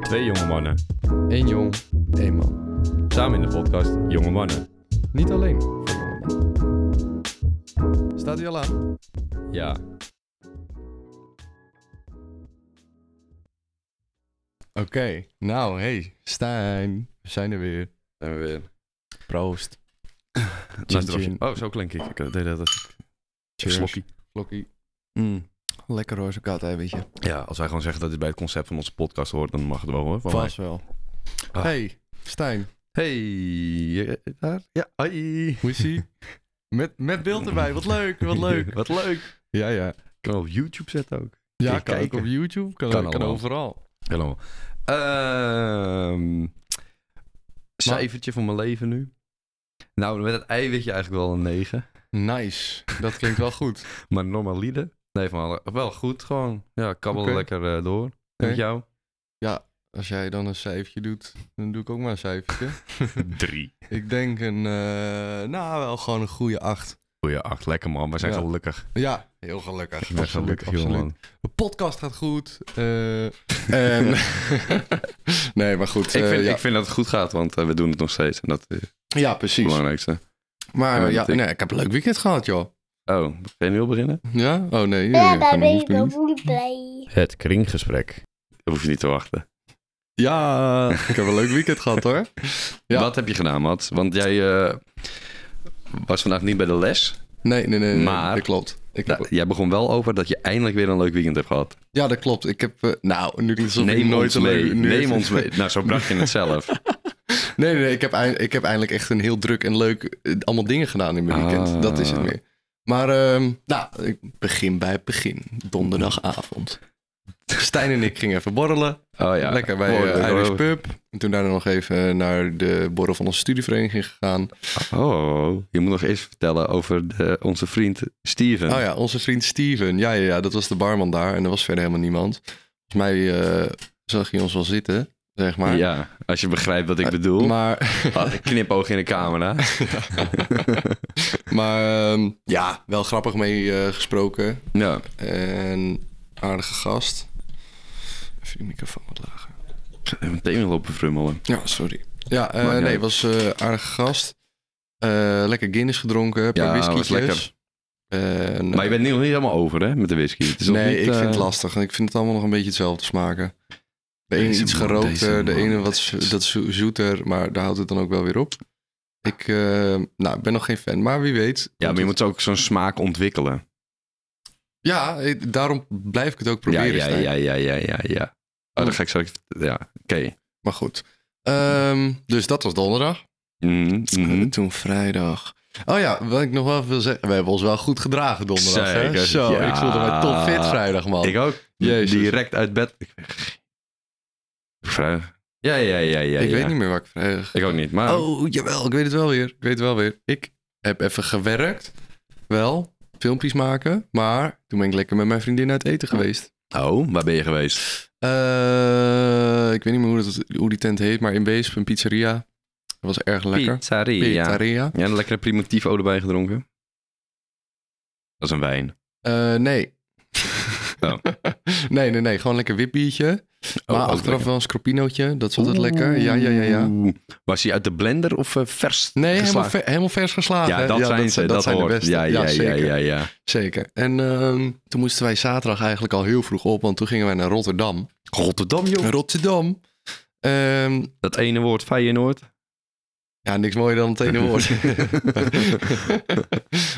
Twee jonge mannen, Eén jong, één man. samen in de podcast Jonge Mannen. Niet alleen voor jonge mannen. Staat u al aan? Ja, Oké, nou hey, Stijn, we zijn er weer. zijn we weer. Proost. Naast de chin. wasje- Oh, zo klink ik. Ik eh, deed dat als een slokkie. Slokkie. Mm. Lekker hoor, zo'n koud eiwitje. Ja, als wij gewoon zeggen dat dit bij het concept van onze podcast hoort, dan mag het wel hoor. van mij. Vast wel. Ah. Hey, Stijn, Hey, eh, daar? Ja, hoi. hoe is ie? met, met beeld erbij, wat leuk, wat leuk. Wat leuk. Ja, ja. Kan op YouTube zetten ook. Ja, Kijk, kan ook kijken. op YouTube, kan, Kan kan, allemaal. overal. Helemaal. Ehm cijfertje van mijn leven nu. Nou, met het eiwitje eigenlijk wel een 9. Nice, dat klinkt wel goed. Maar normalide? Nee, van alle- wel goed gewoon. Ja, kabbel Oké. lekker eh, door. En Oké. met jou? Als jij dan een cijfertje doet, dan doe ik ook maar een cijfertje. Drie. Ik denk een, eh, nou wel gewoon een goede acht. Goeie acht, lekker man. We zijn Ja. gelukkig. Ja, heel gelukkig. We zijn gelukkig, joh, man. De podcast gaat goed. eh, en... nee, maar goed. ik, eh, vind, ja. ik vind dat het goed gaat, want eh, we doen het nog steeds. En dat is het ja, precies. belangrijkste. Maar eh, Ja, ja, dat ik- nee, ik heb een leuk weekend gehad, joh. Oh, kun je nu al beginnen? Ja? Oh nee. Ja, eh, daar kan ben niet, ik kan wel niet. goed bij. Het kringgesprek. Dat hoef je niet te wachten. Ja, ik heb een leuk weekend gehad, hoor. Ja. Wat heb je gedaan, Mats? Want jij eh, was vandaag niet bij de les. Nee, nee, nee. nee, Maar- Dat klopt. Ik heb- Da- jij begon wel over dat je eindelijk weer een leuk weekend hebt gehad. ja, dat klopt. Ik heb... eh, nou, nu klinkt het alsof ik Neem nooit ons een leuk... mee. nu- Neem ons mee. Nou, zo bracht je het zelf. Nee, nee, nee, ik heb, eind- ik heb eindelijk echt een heel druk en leuk eh, allemaal dingen gedaan in mijn weekend. Ah. Dat is het meer. Maar ehm, nou, ik begin bij het begin. Donderdagavond. Stijn en ik gingen even borrelen. Oh ja. Lekker bij Mooi, eh, leuk. Irish Pub. En toen daarna nog even naar de borrel van onze studievereniging gegaan. Oh, je moet nog eerst vertellen over de, onze vriend Steven. Oh ja, onze vriend Steven. Ja, ja, ja, dat was de barman daar. En er was verder helemaal niemand. Volgens mij eh, zag hij ons wel zitten, zeg maar. Eh, Ja, als je begrijpt wat ik bedoel. Maar, Ah, een knipoog in de camera. maar ehm, ja, wel grappig mee eh, gesproken. ja. En aardige gast. Even die microfoon wat lager. Meteen lopen frummelen. Ja, sorry. Ja, eh, Maakt niet nee, uit. was eh aardige gast. Eh, lekker Guinness gedronken, een Ja, paar was whisky's. lekker. Maar je bent nu nog niet helemaal over, hè, met de whisky. Het is nog nee, niet, ik eh, vind het lastig. en Ik vind het allemaal nog een beetje hetzelfde smaken. De ene Deze iets man, deze gerookter, de man. ene wat zo- dat zo- zoeter, maar daar houdt het dan ook wel weer op. Ik eh, nou, ben nog geen fan, maar wie weet. Ja, maar je moet ook zo'n smaak ontwikkelen. Ja, eh, daarom blijf ik het ook proberen. ja, ja, Stijn. ja, ja, ja, ja, ja. Oh, dan ga ik zo... Ja, oké. Maar goed. Ehm, dus dat was donderdag. Mhm, mhm. Eh, Toen vrijdag. Oh ja, wat ik nog wel wil zeggen. We hebben ons wel goed gedragen donderdag. Zeker, hè? Zo, ja. ik voelde mij topfit vrijdag, man. Ik ook. Jezus. Direct uit bed. Ik- Vrijdag. Ja, ja, ja, ja. ik ja. weet niet meer waar ik vrijdag... Ik ook niet, maar... Oh, jawel, ik weet het wel weer. Ik weet het wel weer. Ik heb even gewerkt. Wel, filmpjes maken. Maar toen ben ik lekker met mijn vriendin uit eten geweest. oh, waar ben je geweest? Eh, ik weet niet meer hoe, dat, hoe die tent heet, maar in Weesp, een pizzeria. Dat was erg lekker. Pizzeria. Pizzeria. Ja, een lekkere primitivo erbij gedronken. Dat is een wijn. Eh, nee. Oh. nee, nee, nee. Gewoon lekker witbiertje. ook maar achteraf lekker. wel een scroppinootje. Dat is altijd Oeh. lekker. Ja, ja, ja, ja. Was hij uit de blender of eh, vers? Nee, helemaal, geslagen? ver- helemaal vers geslagen. Ja, Ah, hè? dat zijn ze. Dat, zijn de hoort. beste. Ja, ja, ja, zeker. ja, ja. zeker. En ehm, toen moesten wij zaterdag eigenlijk al heel vroeg op, want toen gingen wij naar Rotterdam. Rotterdam, joh. Rotterdam. Ehm, Dat ene woord Feyenoord. ja, niks mooier dan het ene woord.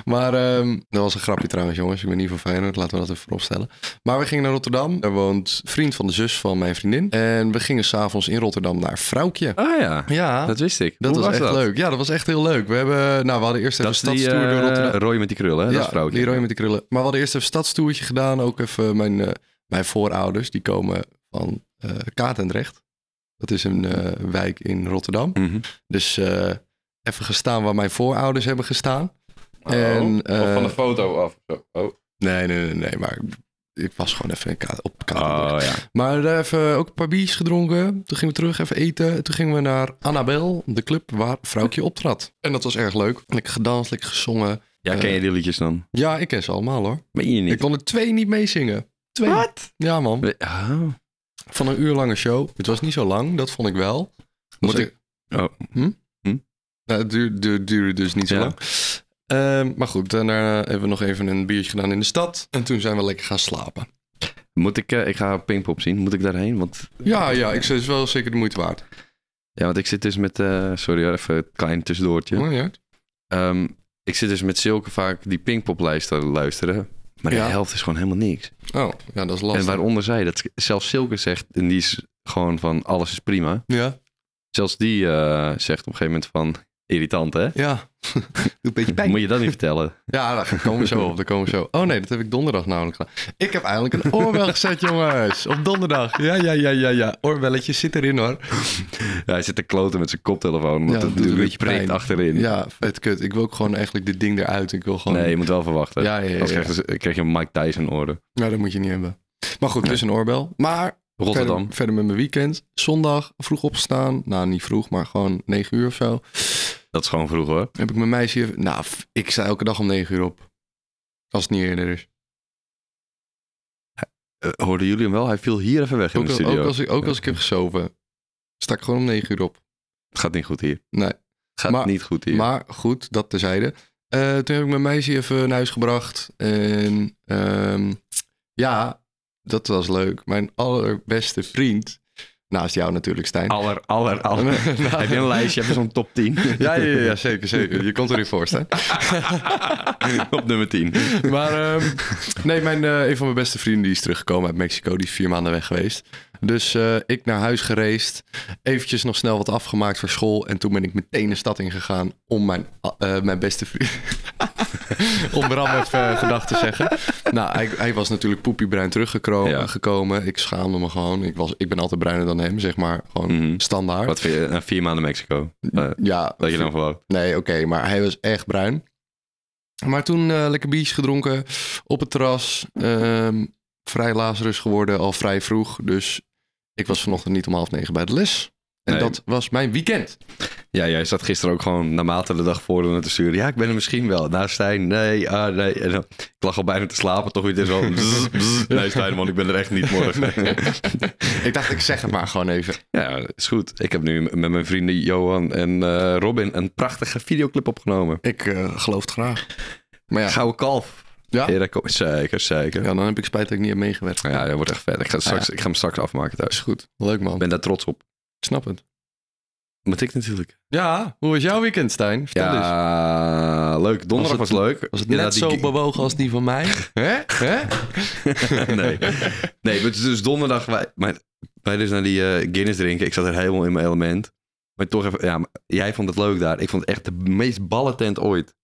maar ehm, dat was een grapje trouwens, jongens. Ik ben niet van Feyenoord, laten we dat even vooropstellen. Maar we gingen naar Rotterdam. Daar woont vriend van de zus van mijn vriendin. En we gingen s'avonds in Rotterdam naar Vrouwkje. Ah ja, Ja, dat, dat wist ik. Hoe was, echt dat? leuk. Ja, dat was echt heel leuk. We, hebben, nou, we hadden eerst even Dat een is die stadstoer door eh Rotterdam. Roy met die krullen, hè? dat is vrouwtje. die rode met die krullen. Maar we hadden eerst even stadstoertje gedaan. Ook even mijn, eh, mijn voorouders, die komen van eh Katendrecht. Dat is een eh, wijk in Rotterdam. Mhm. Dus eh, even gestaan waar mijn voorouders hebben gestaan. Oh, En, eh, foto af. Zo. Oh, Nee, nee, nee, nee, maar ik was gewoon even in Ka- op Katendrecht. oh ja. Maar daar even ook een paar biertjes gedronken. Toen gingen we terug even eten. Toen gingen we naar Annabel, de club waar vrouwtje optrad. En dat was erg leuk. Lekker gedanst, lekker gezongen. Ja, ken je die liedjes dan? Ja, ik ken ze allemaal hoor. Meen je Ik niet? kon er twee niet meezingen. Twee. Wat? Ja, man. We- Oh. Van een uur lange show. Het was niet zo lang, dat vond ik wel. Moet Was- ik... Oh. Hm? Hm? Nou, het duur- duur- duurde dus niet zo Ja. lang. Ehm, maar goed, daarna hebben we nog even een biertje gedaan in de stad. En toen zijn we lekker gaan slapen. Moet ik, eh, ik ga Pinkpop zien. Moet ik daarheen? Want, Ja, ja, ik, het is wel zeker de moeite waard. ja, want ik zit dus met... eh, sorry, hoor, even een klein tussendoortje. Maakt niet uit. Ehm, ik zit dus met Silke vaak die Pinkpoplijst te luisteren. Maar Ja. de helft is gewoon helemaal niks. Oh, ja, dat is lastig. En waaronder zij dat. Zelfs Silke zegt, en die is gewoon van alles is prima. Ja, Zelfs die eh, zegt op een gegeven moment van... Irritant, hè? ja. Doe een beetje pijn. Moet je dat niet vertellen? Ja, daar komen we zo op. Daar komen we zo. Oh nee, dat heb ik donderdag namelijk gedaan. Ik heb eindelijk een oorbel gezet, jongens. Op donderdag. Ja, ja, ja, ja, ja. Oorbelletje zit erin hoor. Ja, hij zit te kloten met zijn koptelefoon. Want Ja, dat doet een beetje prikt achterin. Ja, vet kut. Ik wil ook gewoon eigenlijk dit ding eruit. Ik wil gewoon... Nee, je moet wel verwachten. ja, ja, ja. Anders ja. krijg je, dus- krijg je Mike Tyson oren. Nou, dat moet je niet hebben. Maar goed, dus een oorbel. Maar Rotterdam. Verder, verder met mijn weekend. Zondag vroeg opstaan. Nou, niet vroeg, maar gewoon 9 uur of zo. Dat is gewoon vroeg hoor. Heb ik mijn meisje... hier- Nou, f- ik sta elke dag om 9 uur op. Als het niet eerder is. Eh, hoorden jullie hem wel? Hij viel hier even weg in Ook, de al- studio. ook, als, ik, ook als ik heb gesoven, sta ik gewoon om 9 uur op. Het gaat niet goed hier. Nee. Het gaat Maar- niet goed hier. Maar goed, dat terzijde. Eh toen heb ik mijn meisje even naar huis gebracht. En ehm, ja, dat was leuk. Mijn allerbeste vriend, naast jou natuurlijk, Stijn. aller, aller, aller. Nou, Heb je een lijstje? Heb je zo'n top 10? ja, ja, ja, zeker, zeker. Je komt erin voor, Stijn. Op nummer 10. Maar ehm, nee, mijn, eh, een van mijn beste vrienden die is teruggekomen uit Mexico. Die is vier maanden weg geweest. Dus eh, ik naar huis gereisd. Eventjes nog snel wat afgemaakt voor school. En toen ben ik meteen de stad ingegaan om mijn, eh, mijn beste vriend... om Bram even eh, gedag te zeggen. Nou, hij, hij was natuurlijk poepiebruin teruggekomen. Ja. gekomen. Ik schaamde me gewoon. Ik, was, ik ben altijd bruiner dan hem, zeg maar. Gewoon Mhm. standaard. Wat vind je? na vier maanden Mexico. Eh, Ja, dat je dan verwacht. Nee, oké, maar hij was echt bruin. Maar toen eh, lekker biertje gedronken op het terras. Ehm, vrij lazerus geworden, al vrij vroeg. Dus ik was vanochtend niet om half negen bij de les. En Nee. dat was mijn weekend. Ja, jij zat gisteren ook gewoon naarmate de dag voor door naar te sturen. Ja, ik ben er misschien wel. Nou, Stijn, nee, ah, nee. En dan, ik lag al bijna te slapen, toch weer dit zo. bzz, bzz. Nee, Stijn, man, ik ben er echt niet morgen. Ik dacht, ik zeg het maar gewoon even. Ja, is goed. Ik heb nu met mijn vrienden Johan en eh, Robin een prachtige videoclip opgenomen. Ik eh, geloof het graag. Maar ja, Gouden kalf. Ja? Heer, daar kom- zeker, zeker. ja, dan heb ik spijt dat ik niet heb meegewerkt. Ja, dat wordt echt vet. Ik ga, straks, ik ga hem straks afmaken thuis. Ah, Is goed. Leuk man. Ik ben daar trots op. Ik snap het. Moet ik natuurlijk. Ja, hoe was jouw weekend, Stijn? Vertel eens. Ja, leuk. Donderdag was, Was het- leuk. Was het net Inderdaad, zo die- bewogen als die van mij? Hè? Hè? nee. nee, maar het is dus donderdag. Wij, maar wij dus naar die eh, Guinness drinken. Ik zat er helemaal in mijn element. Maar toch even, ja, maar jij vond het leuk daar. Ik vond het echt de meest ballentent ooit.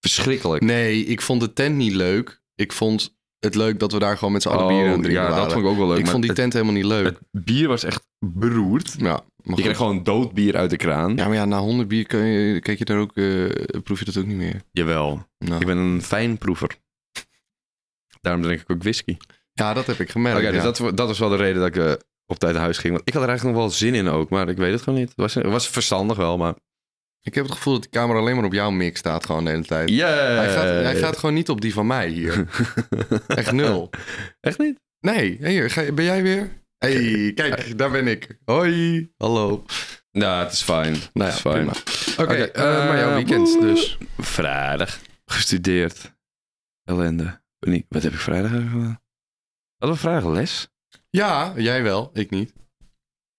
Verschrikkelijk. Nee, ik vond de tent niet leuk. Ik vond het leuk dat we daar gewoon met z'n allen Oh, bier aan het drinken ja, waren. dat vond ik ook wel leuk. ik maar vond die het- tent helemaal niet leuk. Het bier was echt beroerd. ja, maar Je goed. kreeg gewoon dood bier uit de kraan. ja, maar ja, na 100 bier kun je, kijk je daar ook, eh, proef je dat ook niet meer. Jawel. Nou. Ik ben een fijnproever. Daarom drink ik ook whisky. Ja, dat heb ik gemerkt. Oké, ja. dus dat, wa- dat was wel de reden dat ik eh, op tijd naar huis ging. Want ik had er eigenlijk nog wel zin in ook, maar ik weet het gewoon niet. Het was, het was verstandig wel, maar... Ik heb het gevoel dat de camera alleen maar op jouw mix staat gewoon de hele tijd. Yeah. Hij, gaat, hij gaat gewoon niet op die van mij hier. Echt nul. Echt niet? Nee, hier, ga, ben jij weer? hey, kijk, daar ben ik. Hoi. Hallo. Nou, het is fijn. Nou het ja, is fijn. prima. Oké, Oké, eh, maar jouw eh, weekend woe. dus. Vrijdag. Gestudeerd. Ellende. Paniek. Wat heb ik vrijdag eigenlijk gedaan? Hadden we vrijdag les? Ja, jij wel, ik niet.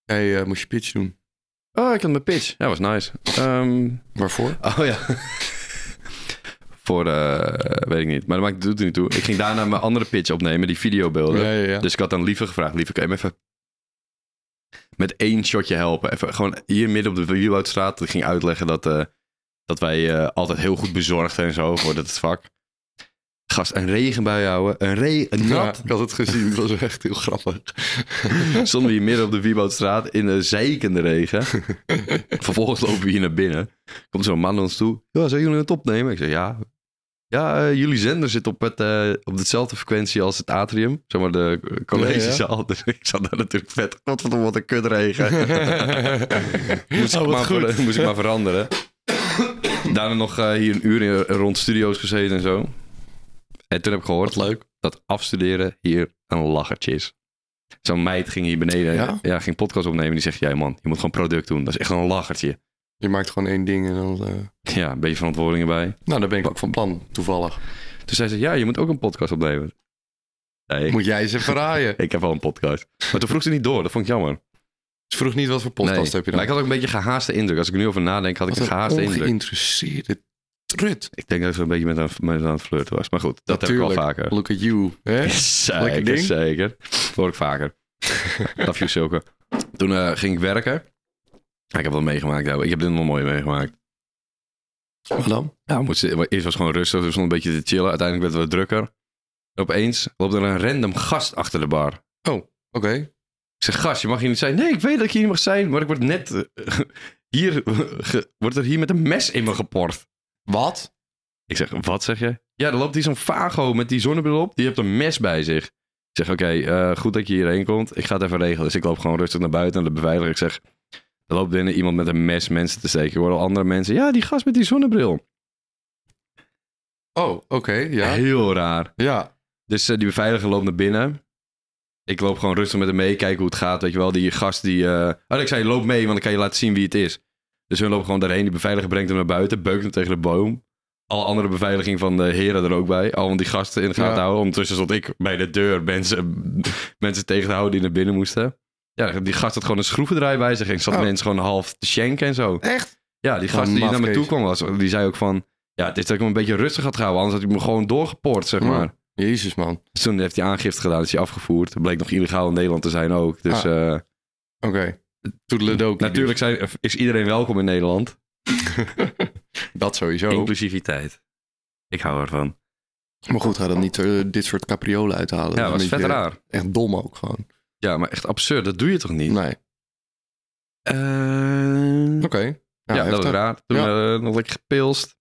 Jij eh, moest je pitch doen. Oh, ik had mijn pitch. Ja, was nice. Ehm, Waarvoor? Oh ja. Voor, eh, weet ik niet. Maar dat maakt doet er niet toe. Ik ging daarna mijn andere pitch opnemen, die videobeelden. ja, ja. Dus ik had aan Lieve gevraagd. Lieve, kan je me even met één shotje helpen? Even gewoon hier midden op de Wielhoutstraat. Ik ging uitleggen dat, eh, dat wij eh, altijd heel goed bezorgd zijn en zo voor dat vak. Gast, een regenbui houden. Een re... Een nat. ik had het gezien. Het was echt heel grappig. Stonden we hier midden op de Wieboudstraat in de zeikende regen. Vervolgens lopen we hier naar binnen. Komt zo'n man naar ons toe. Ja, zijn jullie het opnemen? Ik zeg ja. Ja, eh, jullie zender zit op, het, eh, op dezelfde frequentie als het atrium. Zeg maar de eh, collegezaal. Dus ik zat daar natuurlijk vet. Godverdomme, wat een kutregen. moest, Oh, ik maar ver- moest ik maar veranderen. Daarna nog eh, hier een uur in- rond studio's gezeten en zo. En toen heb ik gehoord Wat leuk. dat afstuderen hier een lachertje is. Zo'n meid ging hier beneden, ja? Ja? ging podcast opnemen. Die zegt, jij man, je moet gewoon product doen. Dat is echt een lachertje. Je maakt gewoon één ding en dan... eh, Ja, een beetje verantwoording erbij. Nou, daar ben ik ook van plan, toevallig. Toen zei ze, ja, je moet ook een podcast opnemen. Nee, ik, Moet jij eens even raaien. ik heb al een podcast. Maar toen vroeg ze niet door, dat vond ik jammer. Ze vroeg niet wat voor podcast Nee, heb je Maar dan. ik had ook een beetje gehaaste indruk. Als ik er nu over nadenk, had ik een Wat gehaaste een indruk. ongeïnteresseerde trut. Ik denk dat ze een beetje met aan, met aan het flirten was. Maar goed, dat heb ik wel Natuurlijk. vaker. Look at you. Hè? Zeker, Lekker ding. zeker. Dat hoor ik vaker. Love you, Silke. Toen eh, ging ik werken. Ah, Ik heb wat meegemaakt. ja. Ik heb dit nog mooi meegemaakt. Wat dan? Ja, we moesten- eerst was het gewoon rustig. Dus we stonden een beetje te chillen. Uiteindelijk werd het wat drukker. En opeens loopt er een random gast achter de bar. Oké. Ik zeg, gast, je mag hier niet zijn. Nee, ik weet dat ik hier niet mag zijn. Maar ik word net... eh, hier ge- wordt er hier met een mes in me geport. Wat? Ik zeg, wat zeg je? Ja, er loopt hier zo'n vago met die zonnebril op. Die heeft een mes bij zich. Ik zeg, oké, eh, goed dat je hierheen komt. Ik ga het even regelen. Dus ik loop gewoon rustig naar buiten en de beveiliger. Ik zeg, er loopt binnen iemand met een mes mensen te steken. Ik hoor al andere mensen, ja, die gast met die zonnebril. Oh, oké. ja. Heel raar. Ja. Dus eh, die beveiliger loopt naar binnen. Ik loop gewoon rustig met hem mee, kijken hoe het gaat. Weet je wel, die gast die... eh Oh, ik zei, loop mee, want dan kan je laten zien wie het is. Dus hun lopen gewoon daarheen. Die beveiliger brengt hem naar buiten, beukt hem tegen de boom. Alle andere beveiliging van de heren er ook bij. Al om die gasten in de gaten Ja. te houden. Ondertussen stond ik bij de deur mensen, mensen tegen te houden die naar binnen moesten. Ja, die gast had gewoon een schroevendraai bij zich. En ik zat Oh. mensen gewoon half te schenken en zo. Echt? Ja, die Wat gast een die naar me mafkees. toe kwam, was, die zei ook van... Ja, het is dat ik hem een beetje rustig had gehouden. Anders had hij me gewoon doorgepoord, zeg Ja. maar. Jezus, man. Oké. Dus toen heeft hij aangifte gedaan, is hij afgevoerd. Bleek nog illegaal in Nederland te zijn ook. Dus Ah, eh, Toedeledokie. natuurlijk zijn, is iedereen welkom in Nederland. Dat sowieso. Inclusiviteit. Ik hou ervan. Maar goed, ga dan niet eh, dit soort capriolen uithalen. Ja, Dat was is een vet beetje raar. Echt dom ook gewoon. Ja, maar echt absurd. Dat doe je toch niet? Nee. Eh, Oké. ja, dat was heftig. raar. Toen eh, nog lekker gepilst.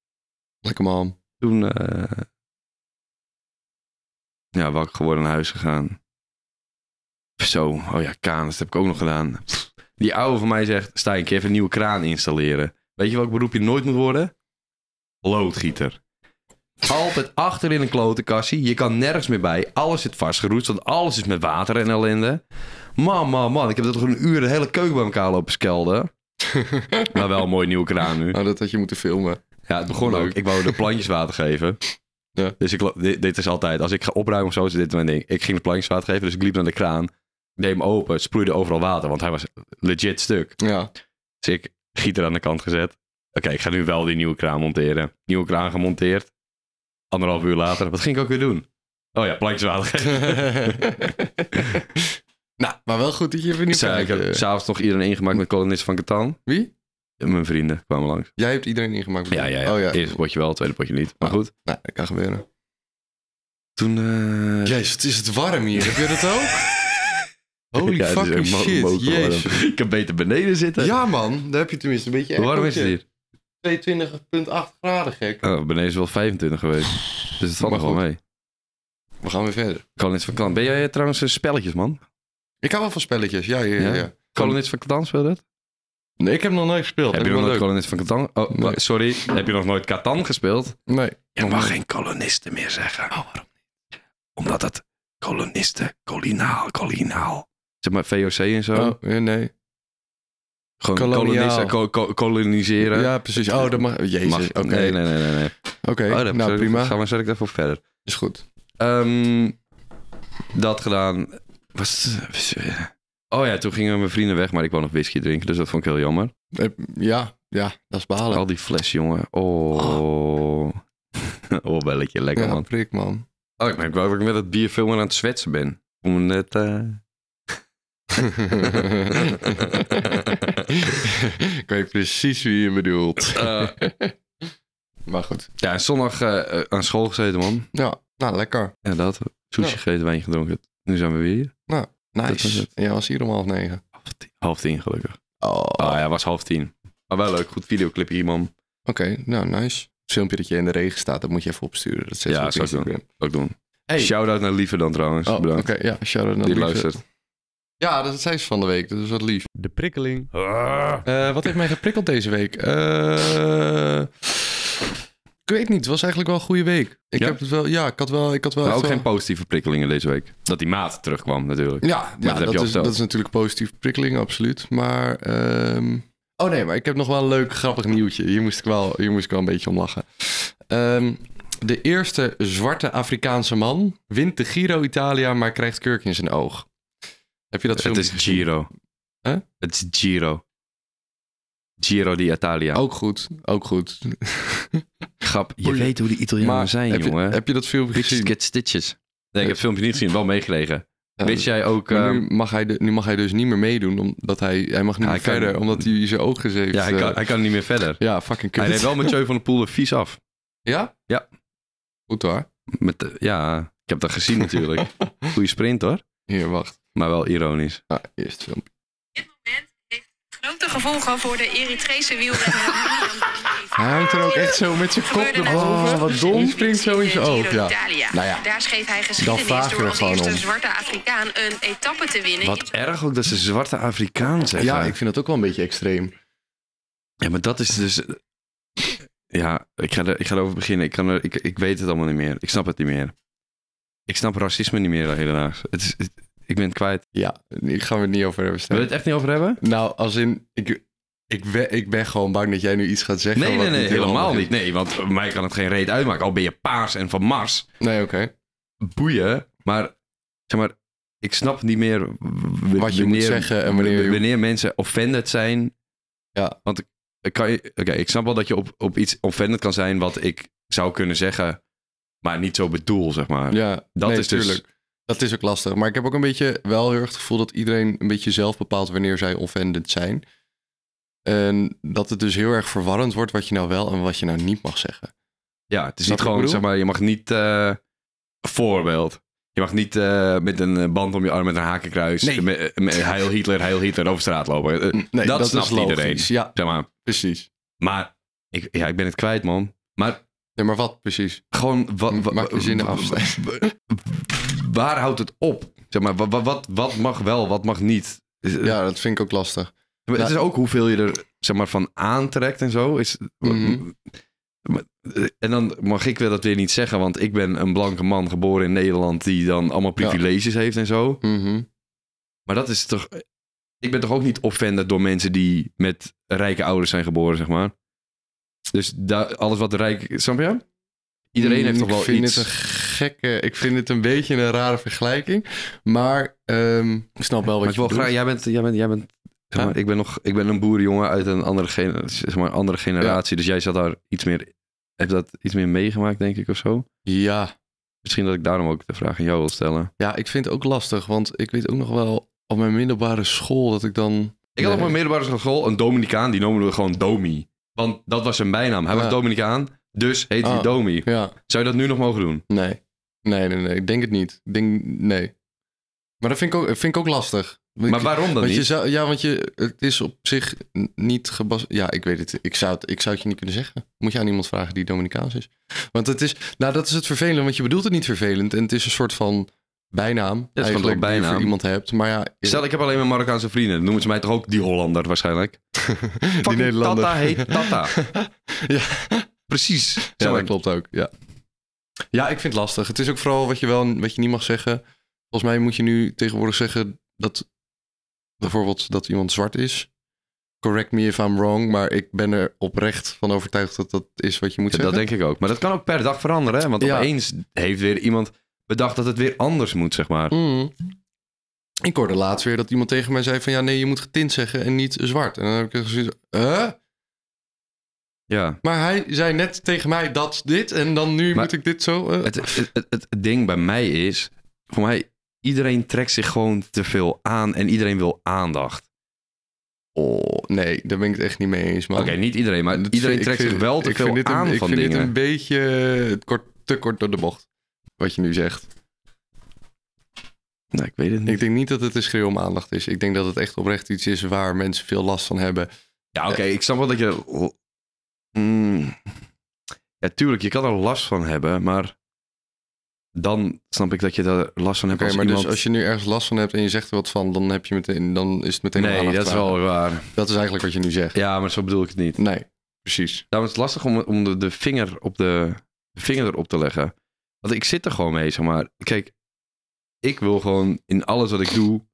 Lekker man. Toen... eh, ja, wakker geworden naar huis gegaan. Zo, oh ja, kraan, dat heb ik ook nog gedaan. Die oude van mij zegt, Stijn, kun je even een nieuwe kraan installeren? Weet je welk beroep je nooit moet worden? Loodgieter. Altijd achter in een klotenkassie. Je kan nergens meer bij. Alles zit vastgeroest, want alles is met water en ellende. Man, man, man, ik heb dat toch een uur de hele keuken bij elkaar lopen skelden. maar wel een mooie nieuwe kraan nu. Nou, dat had je moeten filmen. Ja, het begon Leuk. ook. Ik wou de plantjes water geven. Ja. Dus ik, lo- dit, dit is altijd, als ik ga opruimen of zo, is dit mijn ding. Ik ging de plantjes water geven, dus ik liep naar de kraan. deed hem open, het sproeide overal water, want hij was legit stuk. Ja. Dus ik gieter aan de kant gezet. Oké, ik ga nu wel die nieuwe kraan monteren. Nieuwe kraan gemonteerd. Anderhalf uur later, wat ging ik ook weer doen? Oh ja, plantjes water geven. nou, maar wel goed dat je even niet Dus, eh, ik heb s'avonds nog iedereen ingemaakt met kolonisten van Catan. Wie? Mijn vrienden kwamen langs. Jij hebt iedereen ingemaakt. Ja, ja, ja. Oh ja. Eerste potje wel, tweede potje niet. Maar Ja. goed. Nou, dat kan gebeuren. Toen... eh, Jezus, het is het warm hier. Heb je dat ook? Holy Ja, het is fucking echt mo- shit. mokerwarm. Jezus. Ik kan beter beneden zitten. Ja man, daar heb je tenminste een beetje... Hoe warm is het hier? 22,8 graden gek. Oh, beneden is wel 25 geweest. Dus het valt Maar nog wel goed. mee. We gaan weer verder. Kolonist van Klan. Ben jij eh, trouwens een spelletjes, man? Ik hou wel van spelletjes. Ja, ja, ja. Ja? ja. Kolonist van Katan speelde het? Nee, ik heb nog nooit gespeeld. Heb je Vind nog nooit ik wel kolonist van Katan? Oh, Nee. wa- sorry. Heb je nog nooit Katan gespeeld? leuk. Nee. Je mag geen kolonisten meer zeggen. Oh, waarom niet? Omdat het kolonisten, kolinaal, kolinaal. Zeg maar VOC en zo. Oh, ja, nee. Gewoon koloniaal. kolonisten, ko- ko- koloniseren. Ja, precies. Oh, dat mag... Jezus, Mag. oké. Nee, nee, nee, nee. nee. Oké, Oh, dat nou prima. Gaan we zo direct even op verder. Is goed. Ehm, dat gedaan. Was was- Oh ja, toen gingen mijn vrienden weg, maar ik wou nog whisky drinken, dus dat vond ik heel jammer. Eh, Ja, ja, dat is behalen. Al die fles, jongen. Oh. Oh, belletje, lekker ja, man. prik man. Oh, ik merk wel dat ik met dat bier veel meer aan het zwetsen ben. Om het net. eh, ik weet precies wie je bedoelt. eh, Maar goed. ja, en zondag eh, eh, aan school gezeten, man. Ja, nou lekker. Ja, dat. Sushi Ja. gegeten, wijn gedronken. Nu zijn we weer hier. Dat was Nice. het. En jij was hier om half negen. Half tien, half tien, gelukkig. Oh, Ah ja, was half tien. Maar wel leuk. Goed videoclipje hier, man. Oké, nou nice. Het filmpje dat je in de regen staat, dat moet je even opsturen. Dat zet Ja, je op zou ik doen. Instagram. Ook doen. Hey. Shout-out naar Lieve dan trouwens. Oh, oké. Bedankt. ja, shout-out naar Die Lieve. luistert. Ja, dat zei ze van de week. Dat is wat lief. De prikkeling. Ah. Eh, wat heeft mij geprikkeld deze week? Eh, Ik weet niet, het was eigenlijk wel een goede week. Ik Ja? heb het wel, ja, ik had wel, ik had wel. Maar echt ook wel- geen positieve prikkelingen deze week. Dat die maat terugkwam natuurlijk. Ja, ja dat heb je dat, al is, verteld. dat is natuurlijk positieve prikkeling, absoluut. Maar, ehm, oh nee, maar ik heb nog wel een leuk, grappig nieuwtje. Hier moest ik wel, hier moest ik wel een beetje om lachen. Ehm, de eerste zwarte Afrikaanse man wint de Giro Italia, maar krijgt kurk in zijn oog. Heb je dat het filmpje is gezien? Giro. Huh? Het is Giro. Giro di Italia. Ook goed, ook goed. grap. Je Boeien. weet hoe die Italianen zijn, heb, jongen. Je, heb je dat filmpje Bitches gezien? get stitches. Nee, ik heb het filmpje niet gezien. Wel meegekregen. Ja, Weet jij ook... maar ehm, nu, mag hij de- nu mag hij dus niet meer meedoen, omdat hij, hij mag niet Ja, meer hij kan- verder, omdat hij zijn oog gezeefd ja, hij kan, eh, hij kan niet meer verder. ja, fucking kut. Hij deed wel Mathieu van der Poel er vies af. Ja? Ja. Goed hoor. Met, de- ja, ik heb dat gezien natuurlijk. Goeie sprint hoor. Hier, wacht. Maar wel ironisch. Ah, eerst filmpje. dit moment heeft grote gevolgen voor de Eritrese wielrenner. Milan Kunduz. Hij hangt er ook echt zo met zijn kop Gebeurde naar net boven. Oh, over. wat dom. De Springt zo in zijn Giro oog, ja. d'Italia. Nou ja. Daar schreef hij Dan vraag geschiedenis je door er als gewoon eerste om. zwarte Afrikaan een etappe te winnen. Wat erg ook dat ze zwarte Afrikaan zeggen. Ja, ik vind dat ook wel een beetje extreem. Ja, maar dat is dus. Ja, ik ga, er, ik ga erover beginnen. Ik, kan er, ik, ik weet het allemaal niet meer. Ik snap het niet meer. Ik snap racisme niet meer helaas. Het is, het- ik ben het kwijt. Ja, hier gaan we het niet over hebben. Wil Stijn. je het echt niet over hebben? Nou, als in... Ik, ik, ben, ik ben gewoon bang dat jij nu iets gaat zeggen. Nee, wat nee, nee, heel helemaal handig niet. is. Nee, want voor mij kan het geen reet uitmaken. Al ben je paars en van Mars. Nee, oké. Boeien. Maar zeg maar, ik snap niet meer w- w- Wat je moet zeggen en wanneer je- wanneer mensen offended zijn. Ja. Want ik kan je- oké, ik snap wel dat je op, op iets offended kan zijn wat ik zou kunnen zeggen, maar niet zo bedoel, zeg maar. Ja, Dat nee, is dus- Dat is ook lastig. Maar ik heb ook een beetje wel heel erg het gevoel dat iedereen een beetje zelf bepaalt wanneer zij offended zijn. En dat het dus heel erg verwarrend wordt wat je nou wel en wat je nou niet mag zeggen. Ja, het is niet Snap je wat gewoon, ik zeg bedoel? maar, je mag niet, eh, voorbeeld. Je mag niet eh, met een eh, band om je arm met een hakenkruis, Nee. Mm. met, met heil Hitler, heil Hitler over straat lopen. Eh, Nee, dat is snapt iedereen. logisch. Ja, Zeg maar, precies. maar ik, ja, ik ben het kwijt, man. Maar Nee, maar wat precies? gewoon, wat, M- Mm, Maak je zinnen af. Stijn. waar houdt het op? Zeg maar, wa- wa- wat, wat mag wel, wat mag niet? Is- Ja, dat vind ik ook lastig. Maar het is ook hoeveel je er zeg maar, van aantrekt en zo. Is, Mhm. Maar- En dan mag ik wel dat weer niet zeggen, want ik ben een blanke man geboren in Nederland die dan allemaal privileges heeft en zo. Mhm. Maar dat is toch. eh, Ik ben toch ook niet offended door mensen die met rijke ouders zijn geboren, zeg maar. Dus da- alles wat rijk. Snap je? Iedereen heeft toch Mm, ik wel vind iets. Dit een gekke, ik vind dit een beetje een rare vergelijking. Maar ehm, ik snap wel Maar wat ik je wil bedoelt. graag. Jij bent. Jij bent, jij bent zeg Ja. maar, ik, ben nog, ik ben een boerenjongen uit een andere, gen- zeg maar, andere generatie. Dus jij zat daar iets meer. Heb dat iets meer meegemaakt, denk ik, of zo? Ja, Misschien dat ik daarom ook de vraag aan jou wil stellen. Ja, ik vind het ook lastig, want ik weet ook nog wel op mijn middelbare school dat ik dan. Ik had op Nee. mijn middelbare school een Dominicaan, die noemden we gewoon Domi. Want dat was zijn bijnaam. Hij Ja. was Dominicaan, dus heette hij Ah. Domi. Ja, Zou je dat nu nog mogen doen? nee. Nee, nee, nee. Ik denk het niet. Ik denk, nee. Maar dat vind ik ook, vind ik ook lastig. Want Maar ik- waarom dan want je niet? zou, ja, want je, het is op zich n- niet gebaseerd. Ja, ik weet het. Ik zou, het. ik zou het je niet kunnen zeggen. Moet je aan iemand vragen die Dominicaans is. Want het is, nou, dat is het vervelend, want je bedoelt het niet vervelend. En het is een soort van bijnaam. gewoon eigenlijk, een Die je bijnaam. voor iemand hebt. Maar ja, Stel, ik heb alleen maar Marokkaanse vrienden. Dan noemen ze mij toch ook die Hollander waarschijnlijk? die Fucking Nederlander. Tata heet Tata. ja. Precies. Ja, Zeg maar, dat klopt ook. Ja. ja, ik vind het lastig. Het is ook vooral wat je wel en wat je niet mag zeggen. Volgens mij moet je nu tegenwoordig zeggen dat bijvoorbeeld dat iemand zwart is. Correct me if I'm wrong, maar ik ben er oprecht van overtuigd dat dat is wat je moet Ja, dat zeggen. denk ik ook. Maar dat kan ook per dag veranderen. Hè? Want Ja. opeens heeft weer iemand bedacht dat het weer anders moet, zeg maar. Mm. Ik hoorde laatst weer dat iemand tegen mij zei van ja, nee, je moet getint zeggen en niet zwart. En dan heb ik echt zoiets huh? Ja. Maar hij zei net tegen mij dat dit en dan nu Maar- moet ik dit zo... eh. Het, het, het, het ding bij mij is, voor mij, iedereen trekt zich gewoon te veel aan en iedereen wil aandacht. oh, nee, daar ben ik het echt niet mee eens, man. Oké, niet iedereen, maar Dat iedereen vind- ik trekt zich vind- wel te ik vind veel dit een- aan van Ik vind dit dingen. een beetje eh, kort, te kort door de bocht, wat je nu zegt. Nou, ik weet het Ik denk niet dat het een schreeuw om aandacht is. Ik denk dat het echt oprecht iets is waar mensen veel last van hebben. Ja, oké, ik snap wel dat je... Mm. Ja, tuurlijk, je kan er last van hebben, maar dan snap ik dat je er last van hebt Oké, als maar iemand... dus als je nu ergens last van hebt en je zegt er wat van, dan, heb je meteen, dan is het meteen een nee, aandacht dat is vragen. wel waar. Dat is eigenlijk wat je nu zegt. Ja, maar zo bedoel ik het niet. Nee, precies. Daarom is het lastig om, om de, de, vinger op de, de vinger erop te leggen. Want ik zit er gewoon mee, zeg maar. Kijk, ik wil gewoon in alles wat ik doe,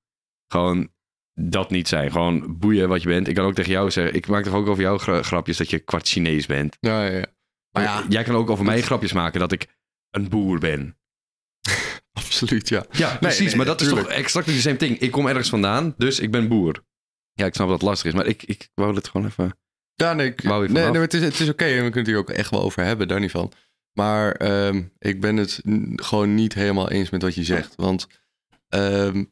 gewoon dat niet zijn. Gewoon boeien wat je bent. Ik kan ook tegen jou zeggen, ik maak toch ook over jou gra- grapjes dat je kwart Chinees bent. Ja, ja, ja. Maar ja, Jij kan ook over mij grapjes maken dat ik een boer ben. absoluut, ja. Ja, precies. nee, maar dat is tuurlijk. toch exact the same thing. Ik kom ergens vandaan, dus ik ben boer. Ja, ik snap dat het lastig is, maar ik, ik wou dit gewoon even... Ja, nee, ik- Wou je nee, nee, vanaf? maar het is, het is oké en we kunnen het hier ook echt wel over hebben, daar niet van. Maar ehm, ik ben het n- gewoon niet helemaal eens met wat je zegt. Want ehm,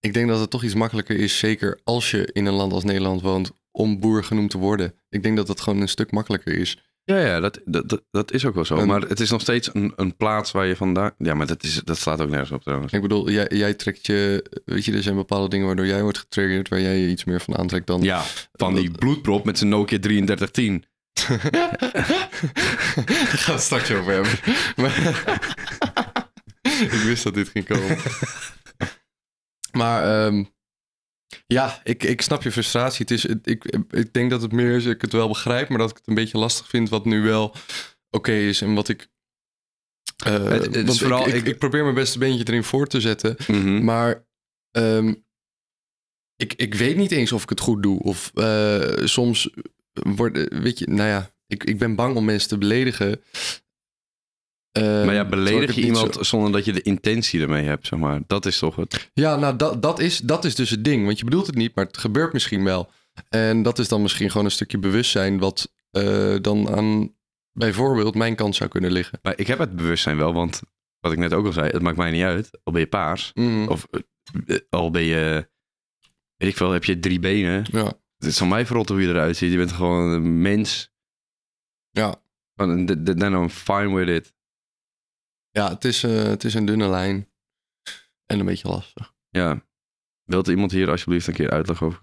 ik denk dat het toch iets makkelijker is, zeker als je in een land als Nederland woont, om boer genoemd te worden. Ik denk dat dat gewoon een stuk makkelijker is. Ja, ja dat, dat, dat, dat is ook wel zo. Een- maar het is nog steeds een, een plaats waar je vandaan... Ja, maar dat, is, dat slaat ook nergens op trouwens. Ik bedoel, jij, jij trekt je, weet je, er zijn bepaalde dingen waardoor jij wordt getriggerd, waar jij je iets meer van aantrekt dan... Ja, van die bloedprop met zijn Nokia 3310. Daar gaan we het straks over hebben. Maar... ik wist dat dit ging komen. Maar ehm, ja, ik, ik snap je frustratie. Het is, het- ik, ik denk dat het meer is, dat ik het wel begrijp, maar dat ik het een beetje lastig vind wat nu wel oké is en wat ik. eh, het is want ik- vooral- ik, ik, ik- probeer mijn beste beentje erin voor te zetten. Mhm. Maar ehm, ik, ik weet niet eens of ik het goed doe. Of eh, soms word, weet je, nou ja, ik, ik ben bang om mensen te beledigen. Ehm, Maar ja, terwijl ik beledig het je niet iemand zo- zonder dat je de intentie ermee hebt, zeg maar. Dat is toch het... Ja, nou, dat, dat, is, dat is dus het ding. Want je bedoelt het niet, maar het gebeurt misschien wel. En dat is dan misschien gewoon een stukje bewustzijn... wat eh, dan aan bijvoorbeeld mijn kant zou kunnen liggen. Maar ik heb het bewustzijn wel, want wat ik net ook al zei, het maakt mij niet uit. Al ben je paars, Mhm. of eh, al ben je, weet ik veel, heb je drie benen. Ja. Het is van mij verrot hoe je eruit ziet. Je bent gewoon een mens. Ja. Van, th- th- Then I'm fine with it. Ja, het is, eh, het is een dunne lijn. En een beetje lastig. Ja. Wilt iemand hier alsjeblieft een keer uitleg over?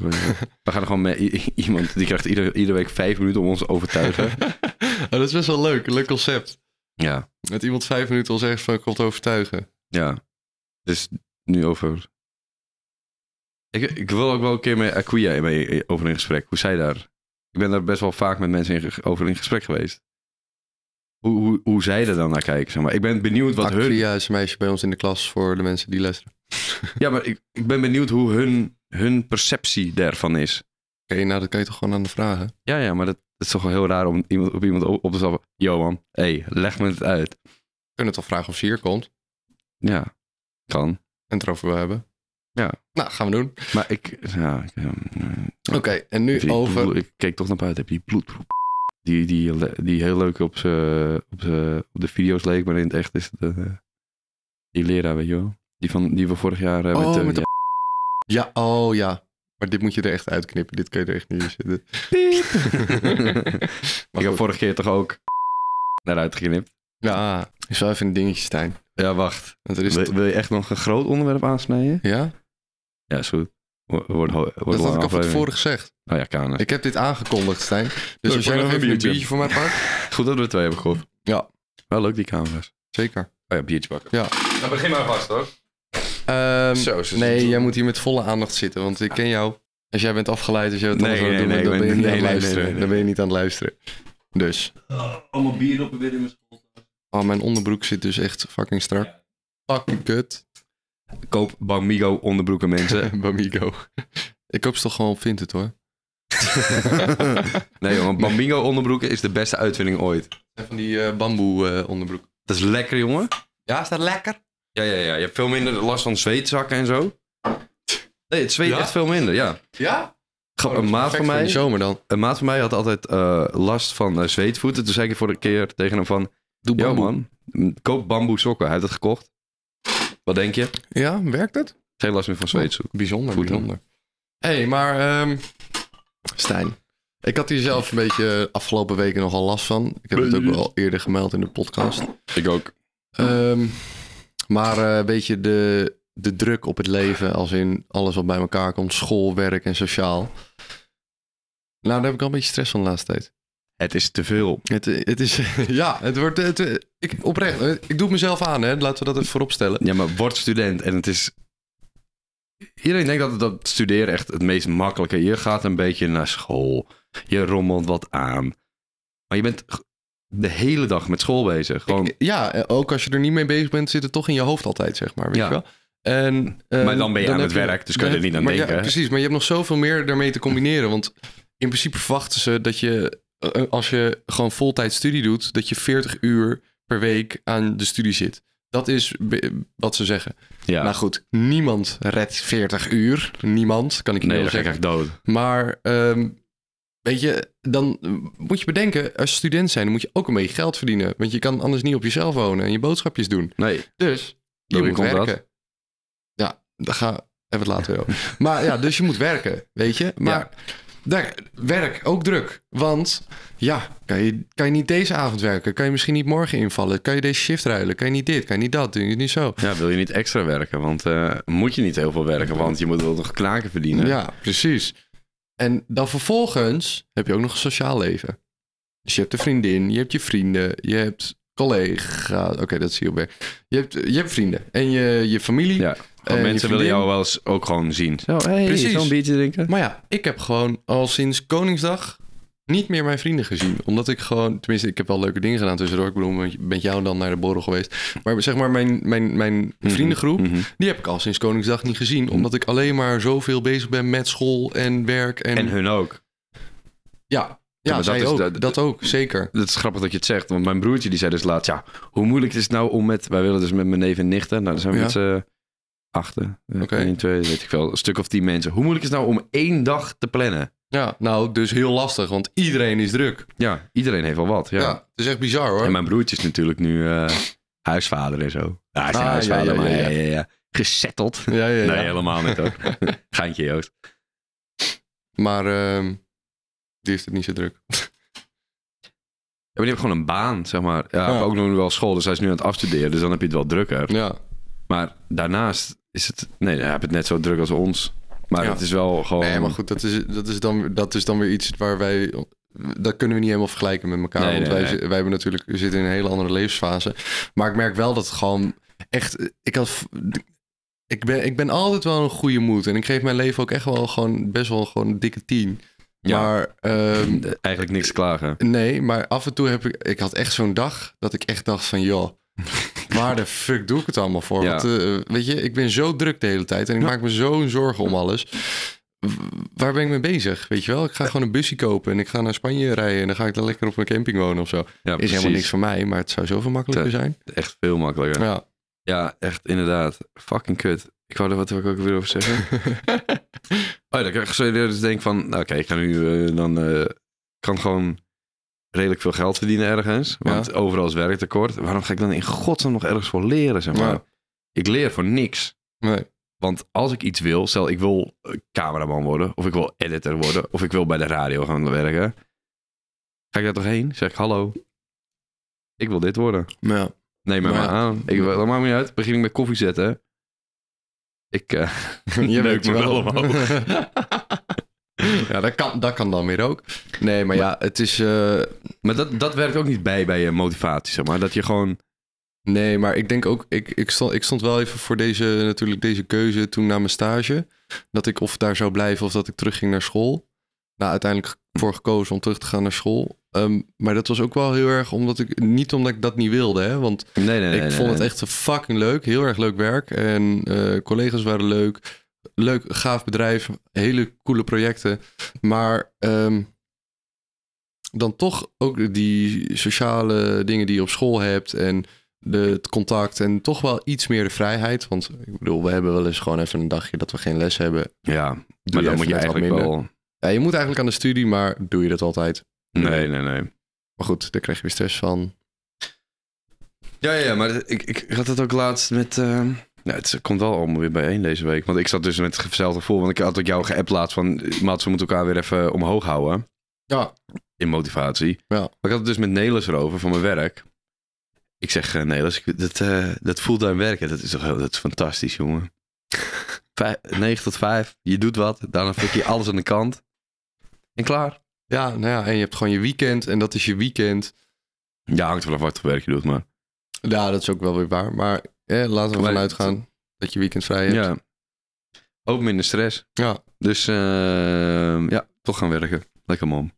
We gaan er gewoon met i- iemand, die krijgt iedere, iedere week vijf minuten om ons te overtuigen. Oh, dat is best wel leuk. Een leuk concept. Ja, Dat iemand vijf minuten al zegt van ik kom te overtuigen. ja. Dus nu over... Ik, ik wil ook wel een keer met Aquia mee eh, over in gesprek. Hoe zij daar... Ik ben daar best wel vaak met mensen in ge- over in gesprek geweest. Hoe, hoe, hoe zij er dan naar kijken, zeg maar. Ik ben benieuwd wat hun... Actria is een meisje bij ons in de klas voor de mensen die luisteren. Ja, maar ik, ik ben benieuwd hoe hun, hun perceptie daarvan is. Oké, nou dat kan je toch gewoon aan de vragen. Ja, ja, maar dat, dat is toch wel heel raar om iemand, op iemand o- op te stappen. Johan, hé, hey, leg me het uit. We kunnen toch vragen of ze hier komt Ja, kan. en het erover wil hebben. Ja. Nou, gaan we doen. Maar ik, ja, ik, ehm, Oké, en nu die over... bloed- ik keek toch naar buiten, heb je die bloedproep. Die, die, die heel leuk op, z'n- op, z'n- op de video's leek, maar in het echt is het eh, die leraar, weet je wel. Die, van, die we vorig jaar eh, Oh, eh, met de- Ja, oh ja. Maar dit moet je er echt uitknippen. Dit kun je er echt niet in zitten. ja. Maar ik heb goed. vorige keer toch ook naar uitgeknipt. Ja, is wel even een dingetje, Stijn. Ja, wacht. Want er is... Wil, wil je echt nog een groot onderwerp aansnijden? Ja, Ja, is goed. Wo- Wordt ho- wordt een dat had ik lange al van aflevering. tevoren gezegd. Oh ja, Kanen. Ik heb dit aangekondigd, Stijn. Dus Leuk, als jij maar nog dan even een heb je biertje voor mij pakt... Goed dat we er twee hebben gehoord. Ja. Wel leuk die camera's. Zeker. Oh ja, biertje bakken. Ja. Nou, begin maar vast hoor. Ehm, Zo, ze Nee, zitten- jij moet hier met volle aandacht zitten, want ik ken jou. Als jij bent afgeleid, als jij wat Nee, anders aan het nee, doen nee, bent, dan ben ik je ben- niet aan nee, het nee, luisteren. nee, nee, Dan ben je niet aan het luisteren. Dus. Allemaal bier op en weer in mijn Oh, mijn onderbroek zit dus echt fucking strak. Fucking kut. eh, Koop Bamigo onderbroeken mensen. Bamigo. Ik koop ze toch gewoon op Vinted hoor. nee jongen, Bamigo onderbroeken is de beste uitvinding ooit. En van die eh, bamboe eh, onderbroek. Dat is lekker jongen. Ja, is dat lekker? Ja, ja, ja. Je hebt veel minder last van zweetzakken en zo. Nee, het zweet Ja? echt veel minder, ja. Oh, Ja? Oh, Grap, een maat van mij... de zomer dan. Een maat van mij had altijd eh, last van eh, zweetvoeten. Toen zei ik voor een keer tegen hem van... Doe Yo bamboe. man, m, koop bamboe sokken. Hij heeft het gekocht. Wat denk je? Ja, werkt het? Geen last meer van zweetzoek. Bijzonder, Goed, bijzonder. Hé, hey, maar ehm, Stijn, ik had hier zelf een beetje afgelopen weken nogal last van. Ik heb het ook al eerder gemeld in de podcast. Ik ook. Ehm, maar eh, een beetje de, de druk op het leven, als in alles wat bij elkaar komt, school, werk en sociaal. Nou, daar heb ik al een beetje stress van de laatste tijd. Het is te veel. Het, het is, ja, het wordt, het, ik, oprecht, ik doe het mezelf aan, hè. laten we dat even voorop stellen. Ja, maar word student en het is... iedereen denkt dat, dat studeren echt het meest makkelijke. Je gaat een beetje naar school. Je rommelt wat aan. Maar je bent g- de hele dag met school bezig. Gewoon, Ja, eh, ook als je er niet mee bezig bent, zit het toch in je hoofd altijd, zeg maar. Weet Ja. je wel? En, eh, Maar dan ben je aan heb het werk, dus kun je dan er heb- niet aan maar denken, Ja, hè? precies, maar je hebt nog zoveel meer daarmee te combineren. Want in principe verwachten ze dat je, eh, als je gewoon voltijd studie doet, dat je 40 uur per week aan de studie zit. Dat is be- wat ze zeggen. ja. Nou goed, niemand redt 40 uur. Niemand, kan ik je nee, wel dan ga ik zeggen. echt dood. Maar ehm, weet je, dan eh, moet je bedenken, als student zijn, dan moet je ook een beetje geld verdienen. Want je kan anders niet op jezelf wonen en je boodschapjes doen. Nee, Dus je Door wie moet komt dat? werken. Ja, daar gaan we even later wel. maar ja, dus je moet werken, weet je. Maar daar, werk, ook druk. Want ja, kan je, kan je niet deze avond werken? Kan je misschien niet morgen invallen? Kan je deze shift ruilen? Kan je niet dit? Kan je niet dat? Doe je niet zo? ja, wil je niet extra werken? Want eh, moet je niet heel veel werken? Want je moet wel toch knaken verdienen? Ja, precies. En dan vervolgens heb je ook nog een sociaal leven. Dus je hebt een vriendin, je hebt je vrienden, je hebt collega's. Oké, dat zie je op werk. Je hebt, je hebt vrienden en je, je familie. Ja, en Want je mensen willen vriendin. jou wel eens ook gewoon zien. Zo, hey, Precies. zo'n biertje drinken. Maar ja, ik heb gewoon al sinds Koningsdag niet meer mijn vrienden gezien. Omdat ik gewoon, tenminste, ik heb wel leuke dingen gedaan tussendoor. Ik bedoel, met- met jou dan naar de borrel geweest. Maar zeg maar, mijn, mijn, mijn vriendengroep, Mhm. die heb ik al sinds Koningsdag niet gezien. Omdat ik alleen maar zoveel bezig ben met school en werk. En, En hun ook. ja, Ja, ja, maar zij dat is- ook. dat- Dat, ook, zeker. Het is grappig dat je het zegt, want mijn broertje die zei dus laatst, ja, hoe moeilijk is het nou om met, wij willen dus met mijn neef en nichten, nou, dan zijn we Ja. met z'n achten, Oké. 1, 2, weet ik wel, een stuk of tien mensen. Hoe moeilijk is het nou om één dag te plannen? Ja, nou, dus heel lastig, want iedereen is druk. Ja, iedereen heeft wel wat, ja. Ja, het is echt bizar hoor. En mijn broertje is natuurlijk nu eh, huisvader en zo. Ja, hij is geen Ah, huisvader, ja, ja, maar ja, ja, ja, ja. Gezetteld. Ja, ja, ja. Nee, helemaal niet hoor. Geintje, Joost. Maar ehm, die heeft het niet zo druk. Ja, maar die heeft gewoon een baan, zeg maar. Ja, Ja. heeft Ook nog wel school, dus hij is nu aan het afstuderen, dus dan heb je het wel drukker. Ja, Maar daarnaast is het... Nee, hij heeft het net zo druk als ons. Maar Ja. het is wel gewoon... nee, maar goed, dat is, dat, is dan, dat is dan weer iets waar wij... Dat kunnen we niet helemaal vergelijken met elkaar. Nee, want nee, wij, nee. zi- wij hebben natuurlijk, we zitten in een hele andere levensfase. Maar ik merk wel dat het gewoon echt... Ik, had, v- ik, ben, ik ben altijd wel een goede moed. En ik geef mijn leven ook echt wel gewoon best wel gewoon een dikke tien. Ja. Maar ehm, De- Eigenlijk niks te klagen. Nee, maar af en toe heb ik... Ik had echt zo'n dag dat ik echt dacht van... joh, waar de fuck doe ik het allemaal voor? Ja. Want, eh, weet je, ik ben zo druk de hele tijd... en ik maak me zo'n zorgen om alles. W- Waar ben ik mee bezig? Weet je wel, ik ga gewoon een busje kopen... en ik ga naar Spanje rijden... en dan ga ik dan lekker op een camping wonen of zo. Ja, Is precies. helemaal niks voor mij, maar het zou zoveel makkelijker zijn. Echt veel makkelijker. Ja. Ja. echt inderdaad. Fucking kut. Ik wou er wat wou ik ook weer over zeggen. oh ja, dan krijg je zo dus denk van... Nou, oké, ik ga nu eh, dan... eh, ik kan gewoon redelijk veel geld verdienen ergens. Want overal is werktekort. Waarom ga ik dan in godsnaam nog ergens voor leren, zeg maar? Ja. Ik leer voor niks. Nee. Want als ik iets wil, stel ik wil eh, cameraman worden, of ik wil editor worden, of ik wil bij de radio gaan werken. Ga ik daar toch heen? Zeg ik hallo. Ik wil dit worden. Ja. Neem mij Maar maar ja. aan. Ik, wil- dat maakt me niet uit. Begin ik met koffie zetten. Ik, eh, Je Neukt weet me me wel wel omhoog. ja, dat kan, dat kan dan weer ook. Nee, maar ja, het is... eh, maar dat, dat werkt ook niet bij bij je motivatie, zeg maar. Dat je gewoon... Nee, maar ik denk ook, ik, ik, stond, ik stond wel even voor deze, natuurlijk deze keuze toen na mijn stage. Dat ik of daar zou blijven of dat ik terugging naar school. Nou, uiteindelijk voor gekozen om terug te gaan naar school. Ehm, maar dat was ook wel heel erg omdat ik, niet omdat ik dat niet wilde, hè. Want Nee, nee, nee. ik nee, vond het nee. echt fucking leuk. Heel erg leuk werk. En eh, collega's waren leuk. Leuk, gaaf bedrijf. Hele coole projecten. Maar ehm, dan toch ook die sociale dingen die je op school hebt. En de, het contact. En toch wel iets meer de vrijheid. Want ik bedoel, we hebben wel eens gewoon even een dagje dat we geen les hebben. Ja, maar Doe dan je moet je even net wat eigenlijk minder. wel... Ja, je moet eigenlijk aan de studie, maar doe je dat altijd? Nee, nee, nee. Maar goed, daar krijg je weer stress van. Ja, ja, ja, maar ik, ik had het ook laatst met... ehm, Nou, het komt wel allemaal weer bijeen deze week. Want ik zat dus met hetzelfde gevoel. Want ik had ook jou geappt laatst van... eh, Mats, we moeten elkaar weer even omhoog houden. Ja. In motivatie. Ja. Maar ik had het dus met Nelis erover van mijn werk. Ik zeg, eh, Nelis, ik- dat, eh, dat fulltime werken, dat is toch heel- dat is fantastisch, jongen. Vijf, 9 tot 5, je doet wat. Daarna flik je alles aan de kant. En klaar. Ja, nou ja, en je hebt gewoon je weekend. En dat is je weekend. Ja, hangt er vanaf wat voor werk je doet, maar... Ja, dat is ook wel weer waar. Maar eh, laten we Maar ervan het- uitgaan dat je weekend vrij hebt. Ja. Ook minder stress. Ja. Dus eh, ja, toch gaan werken. Lekker man.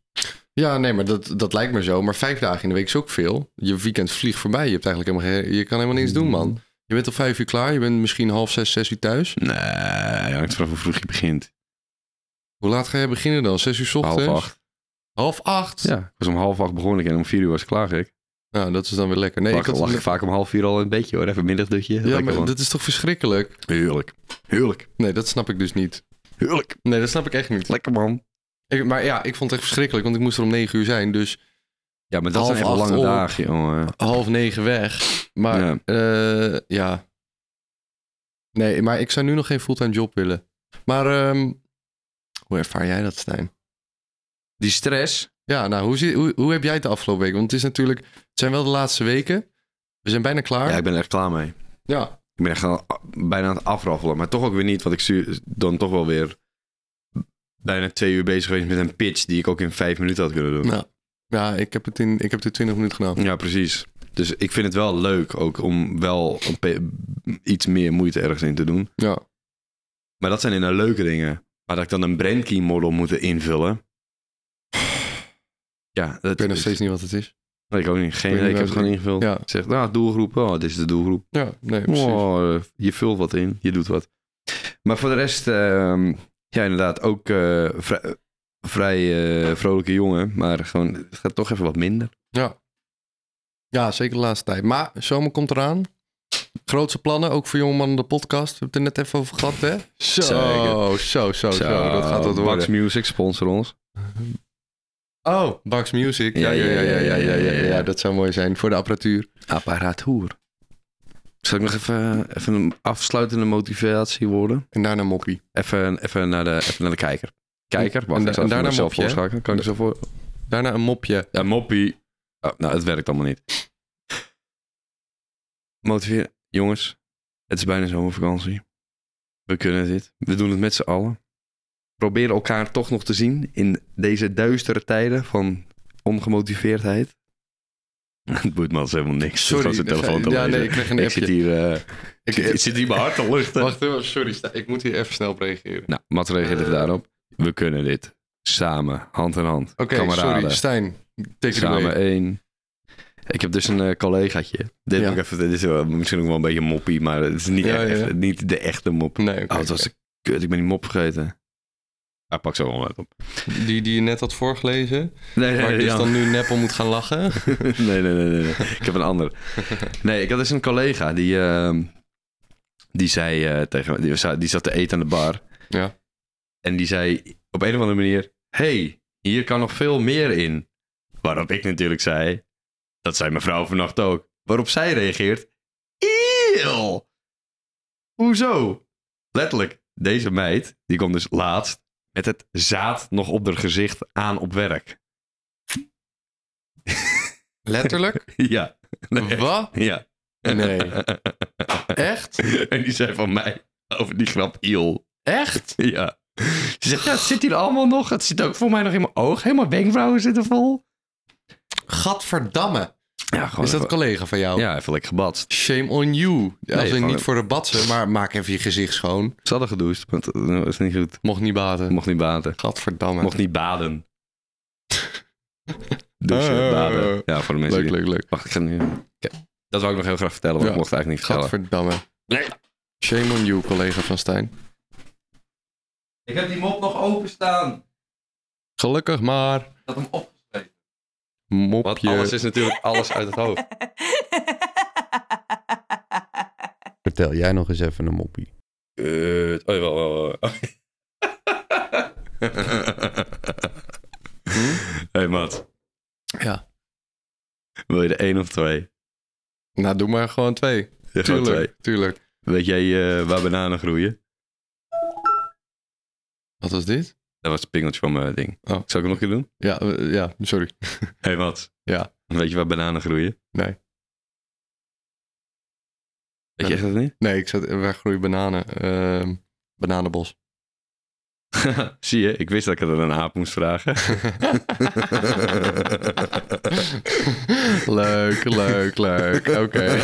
Ja, nee, maar dat, dat lijkt me zo. Maar vijf dagen in de week is ook veel. Je weekend vliegt voorbij. Je, hebt eigenlijk helemaal geen, je kan helemaal niks doen, Mm. man. Je bent al vijf uur klaar. Je bent misschien half zes, zes uur thuis. Nee, hangt vanaf hoe vroeg je begint. Hoe laat ga jij beginnen dan? Zes uur 's ochtends? Half acht. Half acht? Ja, ik was om half acht begonnen en om vier uur was ik klaar, gek. Nou, dat is dan weer lekker. Nee, lag, ik had... lag ik vaak om half vier al in het bedje hoor. Even middagdutje. ja, Lekker, maar man. dat is toch verschrikkelijk? Heerlijk. Heerlijk. Nee, dat snap ik dus niet. Heerlijk. Nee, dat snap ik echt niet. Lekker man. Ik- maar ja, ik vond het echt verschrikkelijk, want ik moest er om negen uur zijn. Dus Ja, maar dat Half zijn echt acht lange op. dagen, jongen. half negen weg. Maar Ja. ja. ja. Nee, maar ik zou nu nog geen fulltime job willen. Maar ehm, hoe ervaar jij dat, Stijn? Die stress. Ja, nou, hoe, zie, hoe, hoe heb jij het de afgelopen week? Want het is natuurlijk, het zijn wel de laatste weken. We zijn bijna klaar. Ja, Ja, ik ben er echt klaar mee. Ik ben echt aan- bijna aan het afraffelen. Maar toch ook weer niet. Want ik stu- dan toch wel weer bijna twee uur bezig geweest met een pitch die ik ook in vijf minuten had kunnen doen. nou, ja ik, heb het in, ik heb het in 20 minuten gedaan. Ja, precies. Dus ik vind het wel leuk ook om wel een pe- iets meer moeite ergens in te doen. Ja. Maar dat zijn in de leuke dingen. Maar dat ik dan een brandkey model moet invullen. Ja, dat Ik weet nog steeds niet wat het is. Nee, ik ook niet. Geen idee. Ik weet Ik niet heb het waar gewoon ingevuld. Ja. Ik zeg, nou, doelgroep. Oh, dit is de doelgroep. Ja, nee, precies. Oh, eh, je vult wat in, je doet wat. Maar voor de rest, ehm, ja, inderdaad, ook eh, vrij, vrij eh, vrolijke jongen. Maar gewoon, het gaat toch even wat minder. Ja. ja, zeker de laatste tijd. Maar zomer komt eraan. Grootste plannen, ook voor Jongman de podcast. We hebben het er net even over gehad, hè? Zo, Zeker. zo, zo, Oh, zo. Dat gaat wat worden. Max Music sponsor ons. oh, Bax Music. Ja, ja, ja, ja, ja, ja, ja, ja. Dat zou mooi zijn voor de apparatuur. Apparatuur. Zal ik nog even, even een afsluitende motivatie worden? En daarna Moppie. Even, even, naar, de, even naar de kijker. Kijker, wacht, En da- ik zal even en daarna mezelf mopje, hè? voorschakelen. Kan ik zo voor... Daarna een mopje. Ja, moppie. Oh, nou, het werkt allemaal niet. Motiveer. Jongens, het is bijna zomervakantie. We kunnen dit. We doen het met z'n allen. Probeer elkaar toch nog te zien in deze duistere tijden van ongemotiveerdheid. Het boeit me als helemaal niks. Sorry. Ik zat zijn telefoon te ja, lezen. nee, ik kreeg een ik, zit appje. hier, eh, ik, ik zit hier mijn hart te luchten. Wacht even, sorry. Sta- Ik moet hier even snel op reageren. Nou, Matt reageert even daarop. We kunnen dit. Samen, hand in hand. Oké, Kameraden. sorry. Stijn, take it away. Samen één. Ik heb dus een eh, collegaatje. Dit, Ja. moet ik even, dit is wel- misschien ook wel een beetje moppie, maar het is niet, Ja, echt, ja, ja. niet de echte mop. Nee, oké, oh, het was oké. de kut. Ik ben die mop vergeten. Hij pakt zo wel wat op. Die, die je net had voorgelezen. Nee, nee, Waar ik nee, dus ja. dan nu nep om moet gaan lachen. nee, nee, nee, nee, nee. Ik heb een ander. Nee, ik had dus een collega die, ehm, die zei eh, tegen me, die, za- die zat te eten aan de bar. Ja. En die zei op een of andere manier: hey, hier kan nog veel meer in. Waarop ik natuurlijk zei: Dat zei mevrouw vannacht ook. Waarop zij reageert: Eeuw! Hoezo? Letterlijk, deze meid, die komt dus laatst met het zaad nog op haar gezicht aan op werk. Letterlijk? ja. Nee. Wat? Ja. Nee. Echt? en die zei van mij over die grap iel. Echt? Ja. Ze zegt, ja, het zit hier allemaal nog. Het zit ook voor mij nog in mijn oog. Helemaal wenkbrauwen zitten vol. Gadverdamme. Ja, gewoon Is dat een even, collega van jou? Ja, even lekker gebatst. Shame on you. Als ik gewoon- niet voor de batsen, maar maak even je gezicht schoon. Ze hadden gedoucht, want eh, dat is niet goed. Mocht niet baten. Mocht niet baden. Gadverdamme. Mocht niet baden. Douchen, Eh, baden. Ja, voor de mensen Leuk, die... leuk, leuk. Wacht, ik ga nu... Oké. Dat wou ik nog heel graag vertellen, want Ja. ik mocht het eigenlijk niet vertellen. Gadverdamme. Nee. Shame on you, collega van Stijn. Ik heb die mop nog openstaan. Gelukkig maar. Dat hem op. Want Mopje. alles is natuurlijk alles uit het hoofd. Vertel jij nog eens even een moppie. Kut. Oh, jawel, wel, wel. hey, Matt. Ja. Wil je de één of twee? Nou, doe maar gewoon twee. Ja, gewoon Tuurlijk, twee. tuurlijk. Weet jij eh, waar bananen groeien? Wat was dit? Dat was het pingeltje van mijn ding. Oh. Zal ik hem nog een keer doen? Ja, eh, ja sorry. hey, Matt. Ja. Weet je waar bananen groeien? Nee. Weet je echt dat niet? Nee, ik zat, waar groeien bananen? Ehm, bananenbos. Zie je, ik wist dat ik het aan een aap moest vragen. Leuk, leuk, leuk. Oké.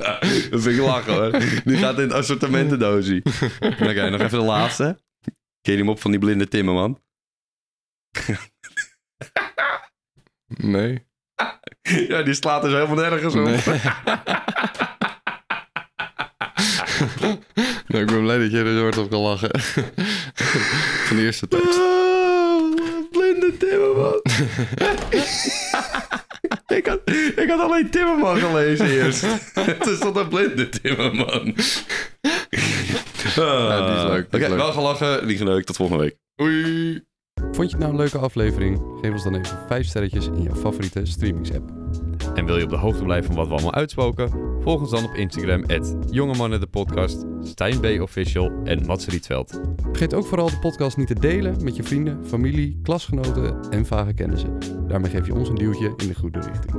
Ja, dat vind ik lachen hoor. Die gaat in het assortimentendoosie. Oké, nog even de laatste. Keer hem op van die blinde timmerman. Nee. Ja, die slaat dus helemaal nergens op. Nee. Nou, ik ben blij dat jij er zo hard op kan lachen. Van de eerste tekst. Ah, blinde timmerman. ik, had, ik had alleen timmerman gelezen eerst. Toen stond een blinde timmerman. Ja, die is leuk, Oké, die is leuk. wel gelachen, die geneukt. Tot volgende week. Oei. Vond je het nou een leuke aflevering? Geef ons dan even 5 sterretjes in jouw favoriete streamingsapp. En wil je op de hoogte blijven van wat we allemaal uitspoken? Volg ons dan op Instagram, at Jonge de Podcast, Stijn B. Official en Mats Rietveld. Vergeet ook vooral de podcast niet te delen met je vrienden, familie, klasgenoten en vage kennissen. Daarmee geef je ons een duwtje in de goede richting.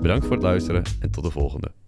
Bedankt voor het luisteren en tot de volgende.